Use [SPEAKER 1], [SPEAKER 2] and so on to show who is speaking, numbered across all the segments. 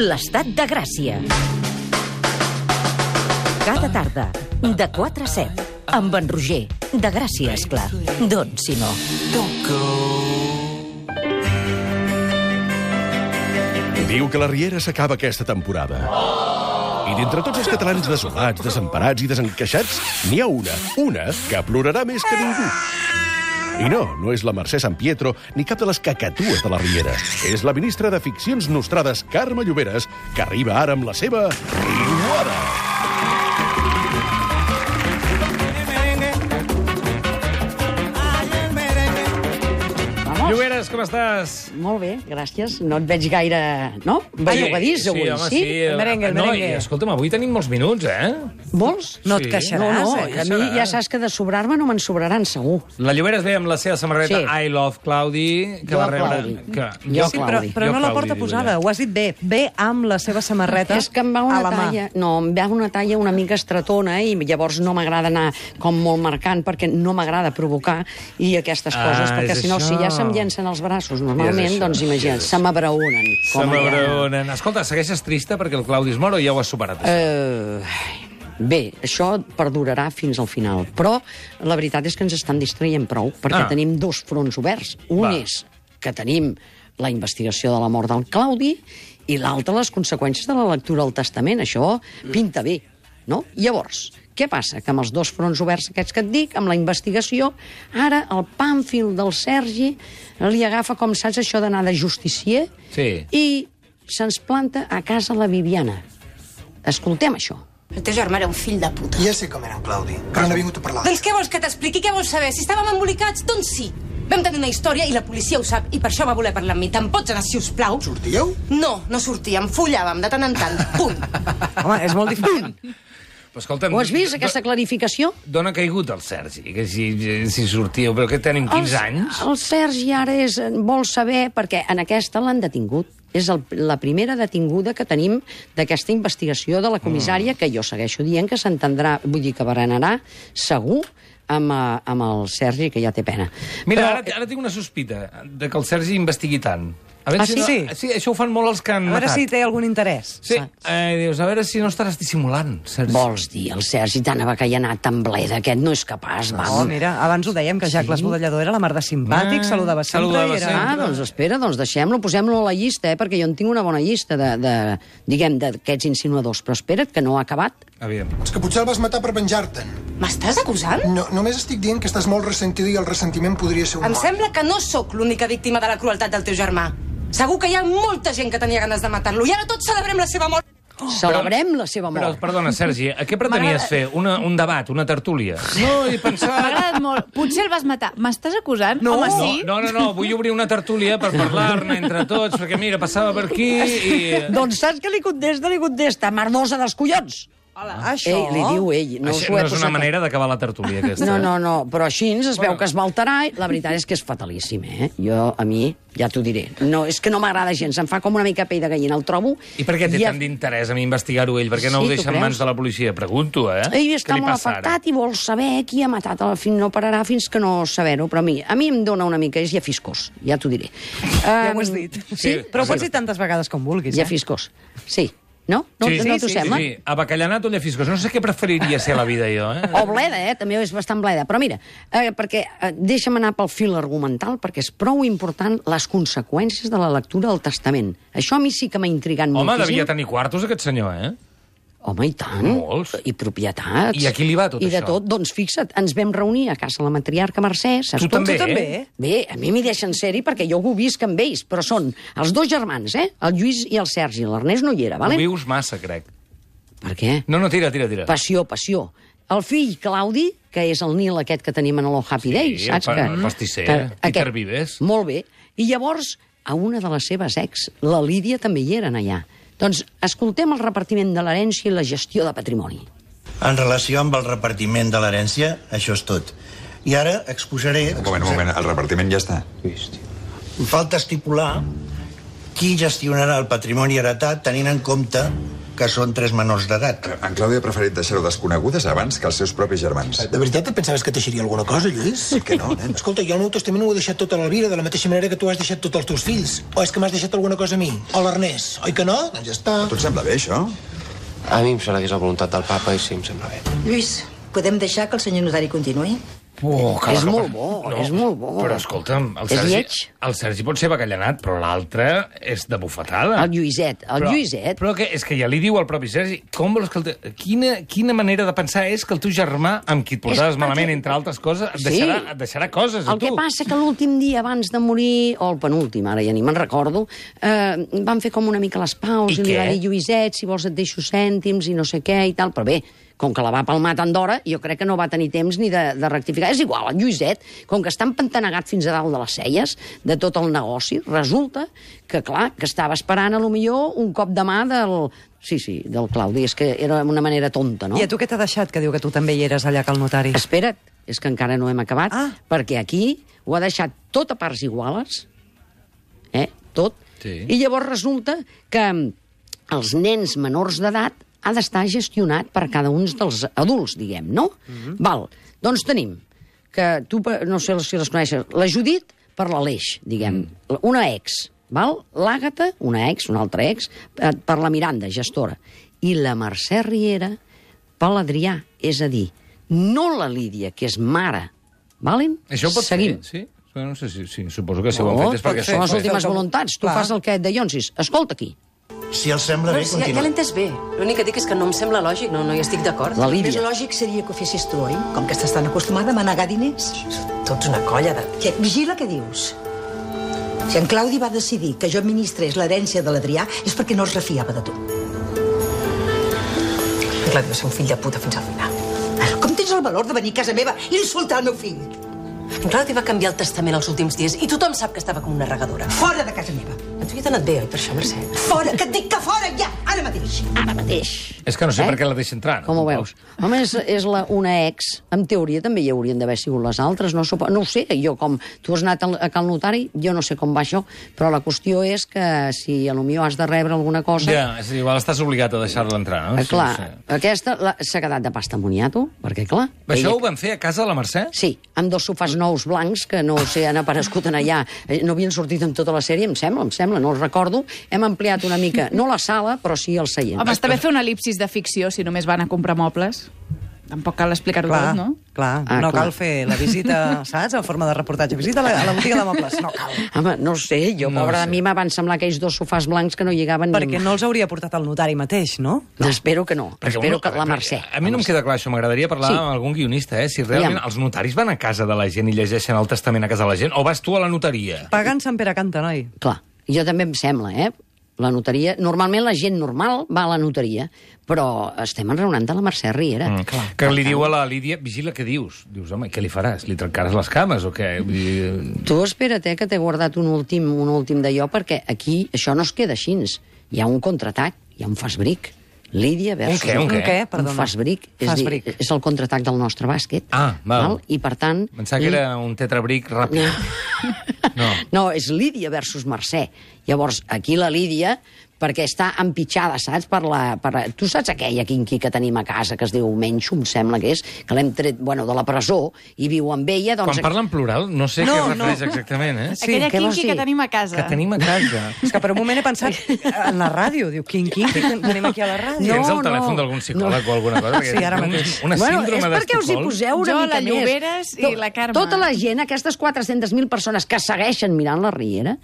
[SPEAKER 1] L'estat de Gràcia. Cada tarda, de 4 a 7, amb en Roger, de Gràcia, esclar. Doncs, si no...
[SPEAKER 2] Diu que la Riera s'acaba aquesta temporada. I d'entre tots els catalans desolats, desemparats i desencaixats, n'hi ha una, una, que plorarà més que ningú. I no, no és la Mercè San Pietro ni cap de les cacatues de la Riera. És la ministra de Ficcions Nostrades, Carme Lloberes, que arriba ara amb la seva Riuada.
[SPEAKER 3] Lloberes, com estàs?
[SPEAKER 4] Molt bé, gràcies. No et veig gaire... No? Bellugadís, avui,
[SPEAKER 3] sí? Home, sí,
[SPEAKER 4] El merengue, el
[SPEAKER 3] no,
[SPEAKER 4] merengue.
[SPEAKER 3] i escolta'm, avui tenim molts minuts, eh?
[SPEAKER 4] Vols?
[SPEAKER 1] No et
[SPEAKER 3] Sí.
[SPEAKER 4] No,
[SPEAKER 1] queixaràs,
[SPEAKER 4] no,
[SPEAKER 1] eh?
[SPEAKER 4] a mi ja saps que de sobrar-me no me'n sobraran, segur.
[SPEAKER 3] La Lloberes ve amb la seva samarreta
[SPEAKER 4] Sí.
[SPEAKER 3] I love Claudi, que
[SPEAKER 4] Jo
[SPEAKER 3] va
[SPEAKER 4] a
[SPEAKER 3] rebre...
[SPEAKER 4] Claudi.
[SPEAKER 3] Que...
[SPEAKER 4] Jo a
[SPEAKER 3] sí,
[SPEAKER 4] Claudi.
[SPEAKER 3] però-
[SPEAKER 5] Però
[SPEAKER 3] jo a
[SPEAKER 5] no la
[SPEAKER 3] Claudi,
[SPEAKER 5] porta posada, ho has dit bé. Ve amb la seva samarreta
[SPEAKER 4] És que em va una
[SPEAKER 5] a la mà.
[SPEAKER 4] talla... No, em va una talla una mica estretona i llavors no m'agrada anar com molt marcant perquè no m'agrada provocar i aquestes
[SPEAKER 3] Ah,
[SPEAKER 4] coses, perquè
[SPEAKER 3] és
[SPEAKER 4] si no,
[SPEAKER 3] això.
[SPEAKER 4] si ja se'm llencen els braços normalment,
[SPEAKER 3] És això,
[SPEAKER 4] doncs imagina't,
[SPEAKER 3] és
[SPEAKER 4] se m'abraunen.
[SPEAKER 3] Se m'abraonen. Escolta, segueixes trista perquè el Claudi es mor o ja ho has superat? això?
[SPEAKER 4] Eh, Bé, això perdurarà fins al final, però la veritat és que ens estan distraient prou, perquè
[SPEAKER 3] Ah.
[SPEAKER 4] tenim dos fronts oberts. Un
[SPEAKER 3] Va.
[SPEAKER 4] és que tenim la investigació de la mort del Claudi i l'altre les conseqüències de la lectura del testament. Això pinta bé, no? Llavors, què passa? Que amb els dos fronts oberts aquests que et dic, amb la investigació, ara el pàmfil del Sergi li agafa, com saps, això d'anar de justicier
[SPEAKER 3] Sí.
[SPEAKER 4] i se'ns planta a casa la Viviana. Escoltem això.
[SPEAKER 6] El teu germà era un fill de puta.
[SPEAKER 7] Ja sé com era en Claudi, però no he vingut a parlar.
[SPEAKER 6] Doncs què vols que t'expliqui? Què vols saber? Si estàvem embolicats, doncs sí. Vam tenir una història i la policia ho sap i per això va voler parlar amb mi. Te'n pots anar, si us plau?
[SPEAKER 7] Sortíeu?
[SPEAKER 6] No, no sortíem, follàvem de tant en tant. Punt.
[SPEAKER 5] Home, és molt diferent.
[SPEAKER 3] Però escolta'm...
[SPEAKER 4] Ho has vist, aquesta clarificació?
[SPEAKER 3] D'on ha caigut el Sergi? Que si, si sortíeu, però que
[SPEAKER 4] Oh,
[SPEAKER 3] tenim 15 anys?
[SPEAKER 4] El Sergi ara és, vol saber, perquè en aquesta l'han detingut. És el, la primera detinguda que tenim d'aquesta investigació de
[SPEAKER 3] Mm.
[SPEAKER 4] la comissària, que jo segueixo dient que s'entendrà, vull dir que berenarà segur amb, eh, amb el Sergi, que ja té pena.
[SPEAKER 3] Mira, ara, ara tinc una sospita de que el Sergi investigui tant. A veure
[SPEAKER 4] Ah,
[SPEAKER 3] si
[SPEAKER 4] sí?
[SPEAKER 3] No... sí? això ho fan molt els que han
[SPEAKER 5] A veure
[SPEAKER 3] matat.
[SPEAKER 5] si té algun interès.
[SPEAKER 3] Sí, eh, dius, a veure si no estaràs dissimulant, Sergi.
[SPEAKER 4] Vols dir, el Sergi tan abacallanat, tan bleda, aquest no és capaç, va.
[SPEAKER 5] Oh, mira, abans ho dèiem, que Jacques sí. Budallador era la mar de simpàtic,
[SPEAKER 3] Ah,
[SPEAKER 5] saludava sempre
[SPEAKER 3] saludava
[SPEAKER 5] i era...
[SPEAKER 3] sempre.
[SPEAKER 4] Ah, doncs espera, doncs deixem-lo, posem-lo a la llista, eh, perquè jo en tinc una bona llista de, de diguem, d'aquests insinuadors, però espera't, que no ha acabat.
[SPEAKER 3] Aviam.
[SPEAKER 7] És que potser el vas matar per venjar-te'n.
[SPEAKER 6] M'estàs acusant?
[SPEAKER 7] No, només estic dient que estàs molt ressentida i el ressentiment podria ser un
[SPEAKER 6] Em
[SPEAKER 7] mal.
[SPEAKER 6] sembla que no sóc l'única víctima de la crueltat del teu germà. Segur que hi ha molta gent que tenia ganes de matar-lo i ara tots celebrem la seva mort.
[SPEAKER 4] Celebrem la seva
[SPEAKER 3] Oh, Però,
[SPEAKER 4] mort.
[SPEAKER 3] perdona, Sergi, a què pretenies fer? Una, un debat, una tertúlia? No, i
[SPEAKER 8] M'ha
[SPEAKER 3] pensar...
[SPEAKER 8] agradat molt. Potser el vas matar. M'estàs acusant?
[SPEAKER 5] No.
[SPEAKER 8] Home,
[SPEAKER 3] No,
[SPEAKER 8] sí.
[SPEAKER 3] no, no, no, vull obrir una tertúlia per parlar-ne entre tots, perquè mira, passava per aquí i...
[SPEAKER 4] Doncs saps que li contesta, li contesta, merdosa dels collons.
[SPEAKER 5] Això...
[SPEAKER 4] Ei, li diu ell, no us
[SPEAKER 3] Això
[SPEAKER 4] ho he
[SPEAKER 3] no és una
[SPEAKER 4] posat.
[SPEAKER 3] manera d'acabar la tertúlia, aquesta.
[SPEAKER 4] No, no, no, però així es veu
[SPEAKER 3] Bueno.
[SPEAKER 4] que es va alterar i la veritat és que és fatalíssim, eh? Jo, a mi, ja t'ho diré. No, és que no m'agrada gens, em fa com una mica pell de gallina, el trobo...
[SPEAKER 3] I per què té
[SPEAKER 4] a-
[SPEAKER 3] tant d'interès a investigar-ho ell? Per què no
[SPEAKER 4] Sí,
[SPEAKER 3] ho
[SPEAKER 4] tu
[SPEAKER 3] deixa en
[SPEAKER 4] creus?
[SPEAKER 3] mans de la policia? Pregunto, eh?
[SPEAKER 4] Ell
[SPEAKER 3] Què
[SPEAKER 4] està
[SPEAKER 3] li
[SPEAKER 4] molt
[SPEAKER 3] passa ara?
[SPEAKER 4] afectat i vol saber qui ha matat. El fill no pararà fins que no saber-ho, però a mi, a mi em dona una mica... És ja fiscós, ja t'ho diré.
[SPEAKER 5] Ah, Ja
[SPEAKER 4] Em,
[SPEAKER 5] ho has dit.
[SPEAKER 4] Sí,
[SPEAKER 5] Però ho pots dir tantes vegades com vulguis,
[SPEAKER 4] ja
[SPEAKER 5] eh?
[SPEAKER 4] fiscós. Sí, no? No,
[SPEAKER 3] Sí,
[SPEAKER 4] no
[SPEAKER 3] sí,
[SPEAKER 4] t'ho
[SPEAKER 3] sí,
[SPEAKER 4] sembla?
[SPEAKER 3] sí. Abacallanat o llefiscos? No sé què preferiria ser a la vida, jo, eh?
[SPEAKER 4] O bleda, eh? també és bastant bleda. Però mira, eh, perquè eh, deixa'm anar pel fil argumental, perquè és prou important les conseqüències de la lectura del testament. Això a mi sí que m'ha intrigat
[SPEAKER 3] Home,
[SPEAKER 4] moltíssim.
[SPEAKER 3] devia tenir quartos, aquest senyor, eh?
[SPEAKER 4] Home, i tant.
[SPEAKER 3] Molts.
[SPEAKER 4] I propietats.
[SPEAKER 3] I a qui li va tot
[SPEAKER 4] I de
[SPEAKER 3] això?
[SPEAKER 4] tot. Doncs fixa't, ens vam reunir a casa la matriarca Mercè, saps
[SPEAKER 3] Tu també,
[SPEAKER 5] Tu també, eh?
[SPEAKER 4] Bé, a mi m'hi deixen ser-hi perquè jo ho visc amb ells, però són els dos germans, eh? El Lluís i el Sergi. L'Ernest no hi era,
[SPEAKER 3] Ho
[SPEAKER 4] vale?
[SPEAKER 3] vius massa, crec.
[SPEAKER 4] Per què?
[SPEAKER 3] No, no, tira, tira, tira.
[SPEAKER 4] Passió, passió. El fill Claudi, que és el Nil aquest que tenim en el Happy Day,
[SPEAKER 3] el
[SPEAKER 4] saps?
[SPEAKER 3] pa-
[SPEAKER 4] que,
[SPEAKER 3] el pastisser, Peter Vives.
[SPEAKER 4] Molt bé. I llavors, a una de les seves ex, la Lídia, també hi eren allà. Doncs escoltem el repartiment de l'herència i la gestió de patrimoni.
[SPEAKER 9] En relació amb el repartiment de l'herència, això és tot. I ara exposaré...
[SPEAKER 10] Un moment, un moment, el repartiment ja està.
[SPEAKER 9] Falta estipular qui gestionarà el patrimoni heretat tenint en compte que són tres menors d'edat.
[SPEAKER 10] En Clàudia ha preferit deixar-ho desconegudes abans que els seus propis germans.
[SPEAKER 11] De veritat et pensaves que deixaria alguna cosa, Lluís? Que no, nen. Escolta, jo el meu testament ho he deixat tot a l'Elvira, de la mateixa manera que tu has deixat tot als teus fills. O és que m'has deixat alguna cosa a mi? O l'Ernest? Oi que no? Doncs ja està.
[SPEAKER 10] Tot sembla bé, això?
[SPEAKER 12] A mi em sembla que és la voluntat del papa i sí, em sembla bé.
[SPEAKER 13] Lluís, podem deixar que el senyor notari continuï?
[SPEAKER 3] Oh, que
[SPEAKER 4] És
[SPEAKER 3] la-
[SPEAKER 4] molt bo, és molt bo.
[SPEAKER 3] Però escolta'm, el
[SPEAKER 4] És
[SPEAKER 3] Sergi,
[SPEAKER 4] lleig.
[SPEAKER 3] el Sergi pot ser bacallanat, però l'altre és de bufetada.
[SPEAKER 4] El Lluïset, el
[SPEAKER 3] però,
[SPEAKER 4] Lluïset.
[SPEAKER 3] Però que, és que ja li diu al propi Sergi, com vols que el te... quina, quina manera de pensar és que el teu germà, amb qui et portaves
[SPEAKER 4] perquè-
[SPEAKER 3] malament, entre altres coses, et
[SPEAKER 4] Sí.
[SPEAKER 3] deixarà, et deixarà coses a
[SPEAKER 4] El
[SPEAKER 3] tu.
[SPEAKER 4] que passa que l'últim dia abans de morir, o el penúltim, ara ja ni me'n recordo, eh, van fer com una mica les paus
[SPEAKER 3] I
[SPEAKER 4] i, li
[SPEAKER 3] què?
[SPEAKER 4] va dir Lluïset, si vols et deixo cèntims i no sé què i tal, però bé, com que la va palmar tant d'hora, jo crec que no va tenir temps ni de, de rectificar. És igual, el Lluïset, com que està empantanegat fins a dalt de les celles de tot el negoci, resulta que, clar, que estava esperant, a lo millor, un cop de mà del... Sí, sí, del Claudi. És que era una manera tonta, no?
[SPEAKER 5] I a tu què t'ha deixat, que diu que tu també hi eres allà que el notari?
[SPEAKER 4] Espera't, és que encara no hem acabat,
[SPEAKER 5] Ah.
[SPEAKER 4] perquè aquí ho ha deixat tot a parts iguales, eh? tot,
[SPEAKER 3] Sí.
[SPEAKER 4] i llavors resulta que mm, els nens menors d'edat ha d'estar gestionat per cada un dels adults, diguem, no? Val, doncs tenim que tu, pe- no sé si les coneixes, la Judit per l'Aleix, diguem, una ex, val? L'Àgata, una ex, una altra ex, eh, per la Miranda, gestora, i la Mercè Riera per l'Adrià, és a dir, no la Lídia, que és mare, valen?
[SPEAKER 3] Això ho pot
[SPEAKER 4] Seguim.
[SPEAKER 3] fer, sí? No sé si, sí, suposo que si ho han
[SPEAKER 4] No,
[SPEAKER 3] fet és perquè...
[SPEAKER 4] Són les
[SPEAKER 3] sí.
[SPEAKER 4] últimes voluntats. Tu
[SPEAKER 5] Clar.
[SPEAKER 4] fas el que et deia, Onsis. Escolta aquí.
[SPEAKER 9] Si els sembla bé,
[SPEAKER 13] Doncs ja, ja l'he
[SPEAKER 9] continua.
[SPEAKER 13] entès bé. L'únic que dic és que no em sembla lògic, no, no hi estic d'acord.
[SPEAKER 4] La Lídia.
[SPEAKER 13] Més lògic seria que ho fessis tu, oi? Com que estàs tan acostumada a manegar diners. Tots una colla de... Que, vigila què dius. Si en Claudi va decidir que jo administrés l'herència de l'Adrià és perquè no es refiava de tu. En Claudi va ser un fill de puta fins al final. Com tens el valor de venir a casa meva i insultar el meu fill? En Claudi va canviar el testament els últims dies i tothom sap que estava com una regadora. Fora de casa meva! A tu hi ha anat bé, oi, per això, Mercè? Fora, que et dic que fora, ja, ara mateix!
[SPEAKER 4] Ara mateix.
[SPEAKER 3] És que no sé
[SPEAKER 4] Eh?
[SPEAKER 3] per què la deixa entrar.
[SPEAKER 4] Com ho
[SPEAKER 3] tampoc.
[SPEAKER 4] veus? Home, és, és la, una ex. En teoria també hi haurien d'haver sigut les altres. No, supo... no ho sé, jo com... Tu has anat al- a Cal Notari, jo no sé com va això, però la qüestió és que si a lo millor has de rebre alguna cosa...
[SPEAKER 3] Ja, és a dir, igual estàs obligat a deixar-la entrar, no?
[SPEAKER 4] eh, clar,
[SPEAKER 3] Sí, sí.
[SPEAKER 4] aquesta la- s'ha quedat de pasta moniato, perquè clar...
[SPEAKER 3] Això
[SPEAKER 4] veia
[SPEAKER 3] ho van fer a casa de la Mercè?
[SPEAKER 4] Sí, amb dos sofàs nous blancs que no sé, han aparegut en allà. Eh, No havien sortit en tota la sèrie, em sembla, em sembla, no els recordo. Hem ampliat una mica, no la sala, però sí el seient.
[SPEAKER 8] Home, està bé fer una elipsis de ficció si només van a comprar mobles. Tampoc cal explicar-ho
[SPEAKER 5] Clar,
[SPEAKER 8] tot, no?
[SPEAKER 5] clar.
[SPEAKER 4] Ah,
[SPEAKER 5] no
[SPEAKER 4] clar.
[SPEAKER 5] cal fer la visita, saps? En forma de reportatge. Visita a la, a la botiga de mobles. No cal.
[SPEAKER 4] Home, no ho sé, jo,
[SPEAKER 3] No
[SPEAKER 4] no
[SPEAKER 3] ho
[SPEAKER 4] pobra
[SPEAKER 3] sé.
[SPEAKER 4] de mi, em van semblar aquells dos sofàs blancs que no lligaven
[SPEAKER 5] Perquè
[SPEAKER 4] ni...
[SPEAKER 5] no els hauria portat el notari mateix, no?
[SPEAKER 4] Espero que no,
[SPEAKER 3] Perquè
[SPEAKER 4] espero
[SPEAKER 3] un-
[SPEAKER 4] que la Mercè.
[SPEAKER 3] A mi no em queda clar això, m'agradaria parlar
[SPEAKER 4] Sí.
[SPEAKER 3] sí. amb algun guionista, eh? Si realment
[SPEAKER 4] Aviam.
[SPEAKER 3] els notaris van a casa de la gent i llegeixen el testament a casa de la gent, o vas tu a la notaria?
[SPEAKER 5] Pagant Sant Pere Canta, noi.
[SPEAKER 4] Clar, jo també em sembla, eh? La notaria... Normalment la gent normal va a la notaria, però estem enraonant de la Mercè Riera.
[SPEAKER 3] Mm. Que li diu a la Lídia, vigila què dius. Dius, home, què li faràs? Li trencaràs les cames o què? Vull dir...
[SPEAKER 4] Tu espera't, eh, que t'he guardat un últim, un últim d'allò, perquè aquí això no es queda així. Hi ha un contraatac, hi ha un fast-break. Lídia versus...
[SPEAKER 3] què, un què?
[SPEAKER 5] què? Perdona.
[SPEAKER 4] Un fast-break, és,
[SPEAKER 5] Fast
[SPEAKER 4] fast
[SPEAKER 5] break.
[SPEAKER 4] és el contraatac del nostre bàsquet.
[SPEAKER 3] Ah, val.
[SPEAKER 4] I per tant...
[SPEAKER 3] Pensava que era un tetrabric ràpid.
[SPEAKER 4] No.
[SPEAKER 3] No.
[SPEAKER 4] No. no, és Lídia versus Mercè. Llavors, aquí la Lídia, perquè està empitjada, saps? Per la, per... la- Tu saps aquella quinqui que tenim a casa, que es diu Menxo, em sembla que és, que l'hem tret, bueno, de la presó, i viu amb ella, doncs...
[SPEAKER 3] Quan parla en plural, no sé
[SPEAKER 5] No,
[SPEAKER 3] no, què es refereix
[SPEAKER 5] no.
[SPEAKER 3] no. exactament, eh?
[SPEAKER 5] Sí,
[SPEAKER 8] Aquella
[SPEAKER 4] què vols
[SPEAKER 8] quinqui
[SPEAKER 4] dir?
[SPEAKER 8] que tenim a casa.
[SPEAKER 3] Que tenim a casa.
[SPEAKER 5] És que per un moment he pensat en la ràdio. Diu, quin, quin, que ten- tenim aquí a la ràdio.
[SPEAKER 3] Tens el
[SPEAKER 4] no.
[SPEAKER 3] telèfon d'algun psicòleg no. o alguna cosa? Perquè
[SPEAKER 5] Sí, ara
[SPEAKER 3] un-
[SPEAKER 5] mateix.
[SPEAKER 3] Una
[SPEAKER 4] bueno,
[SPEAKER 3] síndrome
[SPEAKER 4] és perquè us hi
[SPEAKER 3] d'Estocolm.
[SPEAKER 4] poseu una
[SPEAKER 8] Jo,
[SPEAKER 4] mica
[SPEAKER 8] la
[SPEAKER 4] més.
[SPEAKER 8] Lloberes i
[SPEAKER 4] To-
[SPEAKER 8] la Carme.
[SPEAKER 4] Tota la gent, aquestes 400.000 persones que segueixen mirant la Riera,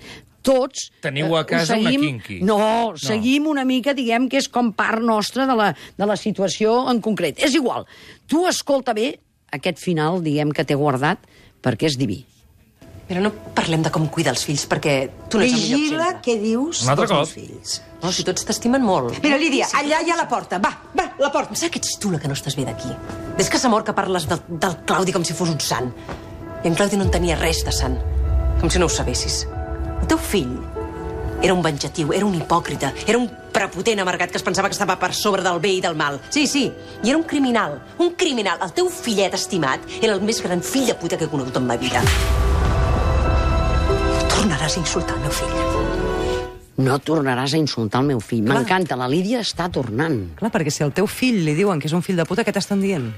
[SPEAKER 4] tots...
[SPEAKER 3] Teniu a
[SPEAKER 4] eh, ho
[SPEAKER 3] casa una
[SPEAKER 4] seguim...
[SPEAKER 3] quinqui.
[SPEAKER 4] No,
[SPEAKER 3] No.
[SPEAKER 4] seguim una mica, diguem, que és com part nostra de la, de la situació en concret. És igual. Tu escolta bé aquest final, diguem, que t'he guardat, perquè és diví.
[SPEAKER 6] Però no parlem de com cuida els fills, perquè tu n'ets el millor
[SPEAKER 13] Vigila
[SPEAKER 6] exemple.
[SPEAKER 13] què dius
[SPEAKER 3] Un altre
[SPEAKER 13] dels meus
[SPEAKER 3] cop.
[SPEAKER 13] fills.
[SPEAKER 6] No, si tots t'estimen molt.
[SPEAKER 13] Mira, Lídia, allà hi ha la porta. Va, va, la porta.
[SPEAKER 6] Em sembla que ets tu la que no estàs bé d'aquí. Des que s'ha mort que parles del, del Claudi com si fos un sant. I en Claudi no en tenia res de sant. Com si no ho sabessis. El teu fill era un venjatiu, era un hipòcrita, era un prepotent amargat que es pensava que estava per sobre del bé i del mal. Sí, sí, i era un criminal, un criminal. El teu fillet estimat era el més gran fill de puta que he conegut en ma vida. Tornaràs a insultar el meu fill.
[SPEAKER 4] no tornaràs a insultar el meu fill.
[SPEAKER 5] Clar.
[SPEAKER 4] M'encanta, la Lídia està tornant.
[SPEAKER 5] Clar, perquè si al teu fill li diuen que és un fill de puta, què t'estan dient?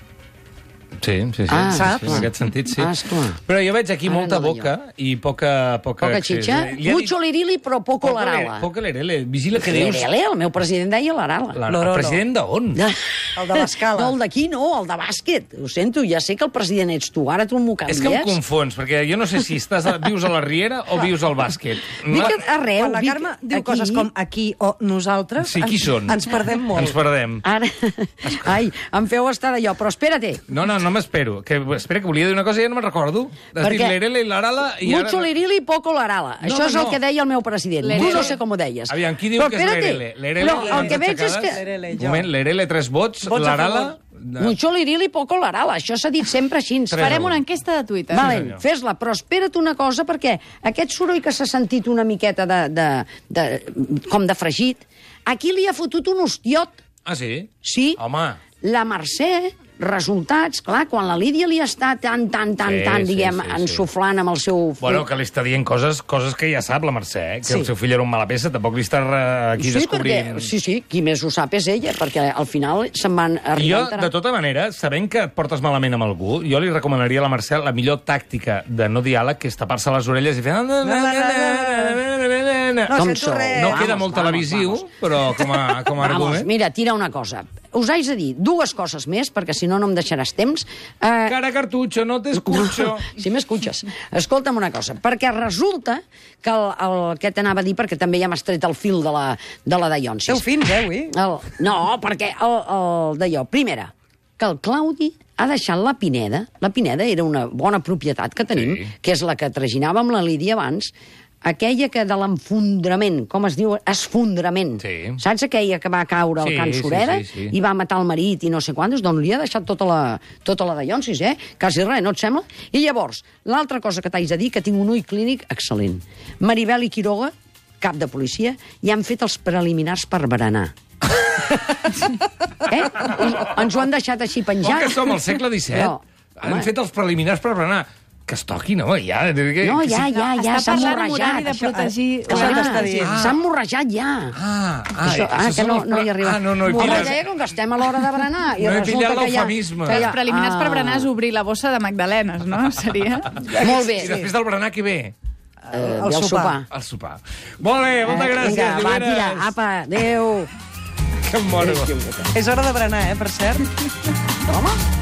[SPEAKER 3] Sí, sí, sí.
[SPEAKER 5] Ah,
[SPEAKER 3] sí, sí,
[SPEAKER 5] saps?
[SPEAKER 3] en aquest sentit, sí.
[SPEAKER 5] Ah, esclar.
[SPEAKER 3] Però jo veig aquí
[SPEAKER 4] Ara
[SPEAKER 3] molta
[SPEAKER 4] no veia.
[SPEAKER 3] boca i poca... Poca,
[SPEAKER 4] Poca
[SPEAKER 3] accés.
[SPEAKER 4] xitxa,
[SPEAKER 3] Li ha dit-
[SPEAKER 4] mucho lirili, però poco
[SPEAKER 3] Poca
[SPEAKER 4] larala.
[SPEAKER 3] l'ere- Poca l'erele. Vigila que dius...
[SPEAKER 4] L'Erele, el meu president deia l'Arala.
[SPEAKER 3] La- El president d'on?
[SPEAKER 4] El de l'escala. No, el d'aquí no, el de bàsquet. Ho sento, ja sé que el president ets tu, ara tu m'ho canvies.
[SPEAKER 3] És que em confons, perquè jo no sé si estàs a, vius a la Riera o vius al bàsquet.
[SPEAKER 5] Vic
[SPEAKER 3] Ma-
[SPEAKER 4] arreu,
[SPEAKER 5] Quan la
[SPEAKER 4] Vic,
[SPEAKER 5] Carme diu
[SPEAKER 4] aquí.
[SPEAKER 5] coses com aquí o nosaltres...
[SPEAKER 3] Sí, qui
[SPEAKER 5] ens-
[SPEAKER 3] són?
[SPEAKER 5] Ens perdem molt.
[SPEAKER 3] Ens perdem.
[SPEAKER 4] Ara, ai, em feu estar allò, però espérate.
[SPEAKER 3] No, no, no m'espero. Que, espera, que volia dir una cosa i ja no me'n recordo. Has
[SPEAKER 4] Per
[SPEAKER 3] dit
[SPEAKER 4] què?
[SPEAKER 3] l'Erele i l'Arala... I
[SPEAKER 4] Mucho
[SPEAKER 3] ara...
[SPEAKER 4] lirili, poco larala.
[SPEAKER 3] No,
[SPEAKER 4] Això
[SPEAKER 3] no,
[SPEAKER 4] és el
[SPEAKER 3] no.
[SPEAKER 4] que deia el meu president. Tu
[SPEAKER 3] L'erele.
[SPEAKER 4] no sé com ho deies.
[SPEAKER 3] Aviam, qui diu
[SPEAKER 4] Però
[SPEAKER 3] que és
[SPEAKER 4] espérate.
[SPEAKER 3] l'Erele? L'Erele...
[SPEAKER 4] No, el que veig és que...
[SPEAKER 3] Un moment, l'Erele, tres vots,
[SPEAKER 4] Vots a
[SPEAKER 3] l'Arala...
[SPEAKER 4] Mucho lirili, poco larala. Això s'ha dit sempre així.
[SPEAKER 3] Tres Farem una euros.
[SPEAKER 4] enquesta de Twitter.
[SPEAKER 3] Sí,
[SPEAKER 4] Valent,
[SPEAKER 3] senyor.
[SPEAKER 4] fes-la, però espera't una cosa, perquè aquest soroll que s'ha sentit una miqueta de, de, de, com de fregit, aquí li ha fotut un hostiot,
[SPEAKER 3] Ah, sí?
[SPEAKER 4] sí?
[SPEAKER 3] Home,
[SPEAKER 4] La Mercè, resultats, clar, quan la Lídia li està tan, tan, tan,
[SPEAKER 3] Sí,
[SPEAKER 4] tan,
[SPEAKER 3] sí,
[SPEAKER 4] diguem,
[SPEAKER 3] sí, sí.
[SPEAKER 4] ensuflant amb el seu...
[SPEAKER 3] Bueno, que li està dient coses coses que ja sap la Mercè, eh? que
[SPEAKER 4] Sí.
[SPEAKER 3] el seu fill era un mala peça, tampoc li està eh, aquí
[SPEAKER 4] sí,
[SPEAKER 3] descobrint...
[SPEAKER 4] perquè, sí, sí, qui més ho sap és ella, perquè al final se'n van
[SPEAKER 3] Jo,
[SPEAKER 4] arribar... a enterar.
[SPEAKER 3] de tota manera, sabent que et portes malament amb algú, jo li recomanaria a la Mercè la millor tàctica de no diàleg, que és tapar-se les orelles i fer... No,
[SPEAKER 4] Com sou?
[SPEAKER 3] no queda molt televisiu, però com a, com a
[SPEAKER 4] Vamos,
[SPEAKER 3] argument...
[SPEAKER 4] mira, tira una cosa. Us haig de dir dues coses més, perquè si no, no em deixaràs temps. Eh...
[SPEAKER 3] Cara cartutxo, no t'escucho.
[SPEAKER 4] si m'escutxes. Escolta'm una cosa, perquè resulta que el, el que t'anava a dir, perquè també ja m'has tret el fil de la, de la Dionsis.
[SPEAKER 5] Teu fins, eh, avui?
[SPEAKER 4] El, Oh, no, perquè el, el d'allò... Primera, que el Claudi ha deixat la Pineda. La Pineda era una bona propietat que tenim, sí. que és la que traginava amb la Lídia abans, aquella que de l'enfondrament, com es diu? Esfondrament. Sí. Saps aquella que va caure al
[SPEAKER 14] Sí,
[SPEAKER 4] sí, Can
[SPEAKER 14] sí,
[SPEAKER 4] Sureda
[SPEAKER 14] sí, sí.
[SPEAKER 4] i va matar el marit i no sé quantos, doncs li ha deixat tota la, tota la dallonsis, eh? Quasi res, no et sembla? I llavors, l'altra cosa que t'haig de dir, que tinc un ull clínic excel·lent. Maribel i Quiroga, cap de policia, ja han fet els preliminars per berenar. eh? Ens ho han deixat així
[SPEAKER 3] Com
[SPEAKER 4] penjat.
[SPEAKER 3] que som al segle XVII?
[SPEAKER 4] No,
[SPEAKER 3] Han
[SPEAKER 4] home.
[SPEAKER 3] fet els preliminars per berenar. Que es toqui, no, ja.
[SPEAKER 4] No, ja,
[SPEAKER 13] Ah,
[SPEAKER 4] ja, ja,
[SPEAKER 8] Està
[SPEAKER 4] s'ha
[SPEAKER 8] parlant
[SPEAKER 4] morrejat.
[SPEAKER 8] Morari de
[SPEAKER 13] eh.
[SPEAKER 8] protegir-
[SPEAKER 4] Clar,
[SPEAKER 8] Clar, està dient.
[SPEAKER 4] S'ha morrejat ja.
[SPEAKER 3] Ah, ah,
[SPEAKER 4] Això, ah
[SPEAKER 3] això
[SPEAKER 4] que
[SPEAKER 3] són
[SPEAKER 4] no,
[SPEAKER 3] els
[SPEAKER 4] no hi
[SPEAKER 3] pre-
[SPEAKER 4] arriba. Oh,
[SPEAKER 3] Ah, no, no, he
[SPEAKER 4] Morrejar,
[SPEAKER 3] pillat.
[SPEAKER 4] ja, com que estem a l'hora de berenar. I
[SPEAKER 3] No he
[SPEAKER 4] resulta
[SPEAKER 3] pillat
[SPEAKER 4] que hi ha-
[SPEAKER 3] l'eufemisme.
[SPEAKER 4] que hi ha-
[SPEAKER 3] Els
[SPEAKER 8] Preliminars per
[SPEAKER 4] Ah.
[SPEAKER 8] berenar és obrir la bossa de magdalenes, no? Seria...
[SPEAKER 4] Molt bé.
[SPEAKER 3] I després del berenar, què ve?
[SPEAKER 4] ve Eh, el el sopar. sopar.
[SPEAKER 3] El sopar. Molt bé, moltes
[SPEAKER 4] Eh,
[SPEAKER 3] gràcies,
[SPEAKER 4] Vinga, va,
[SPEAKER 3] Lloberes.
[SPEAKER 4] tira, apa, adeu.
[SPEAKER 3] Que moro.
[SPEAKER 5] És hora de berenar, eh, per cert.
[SPEAKER 4] Home,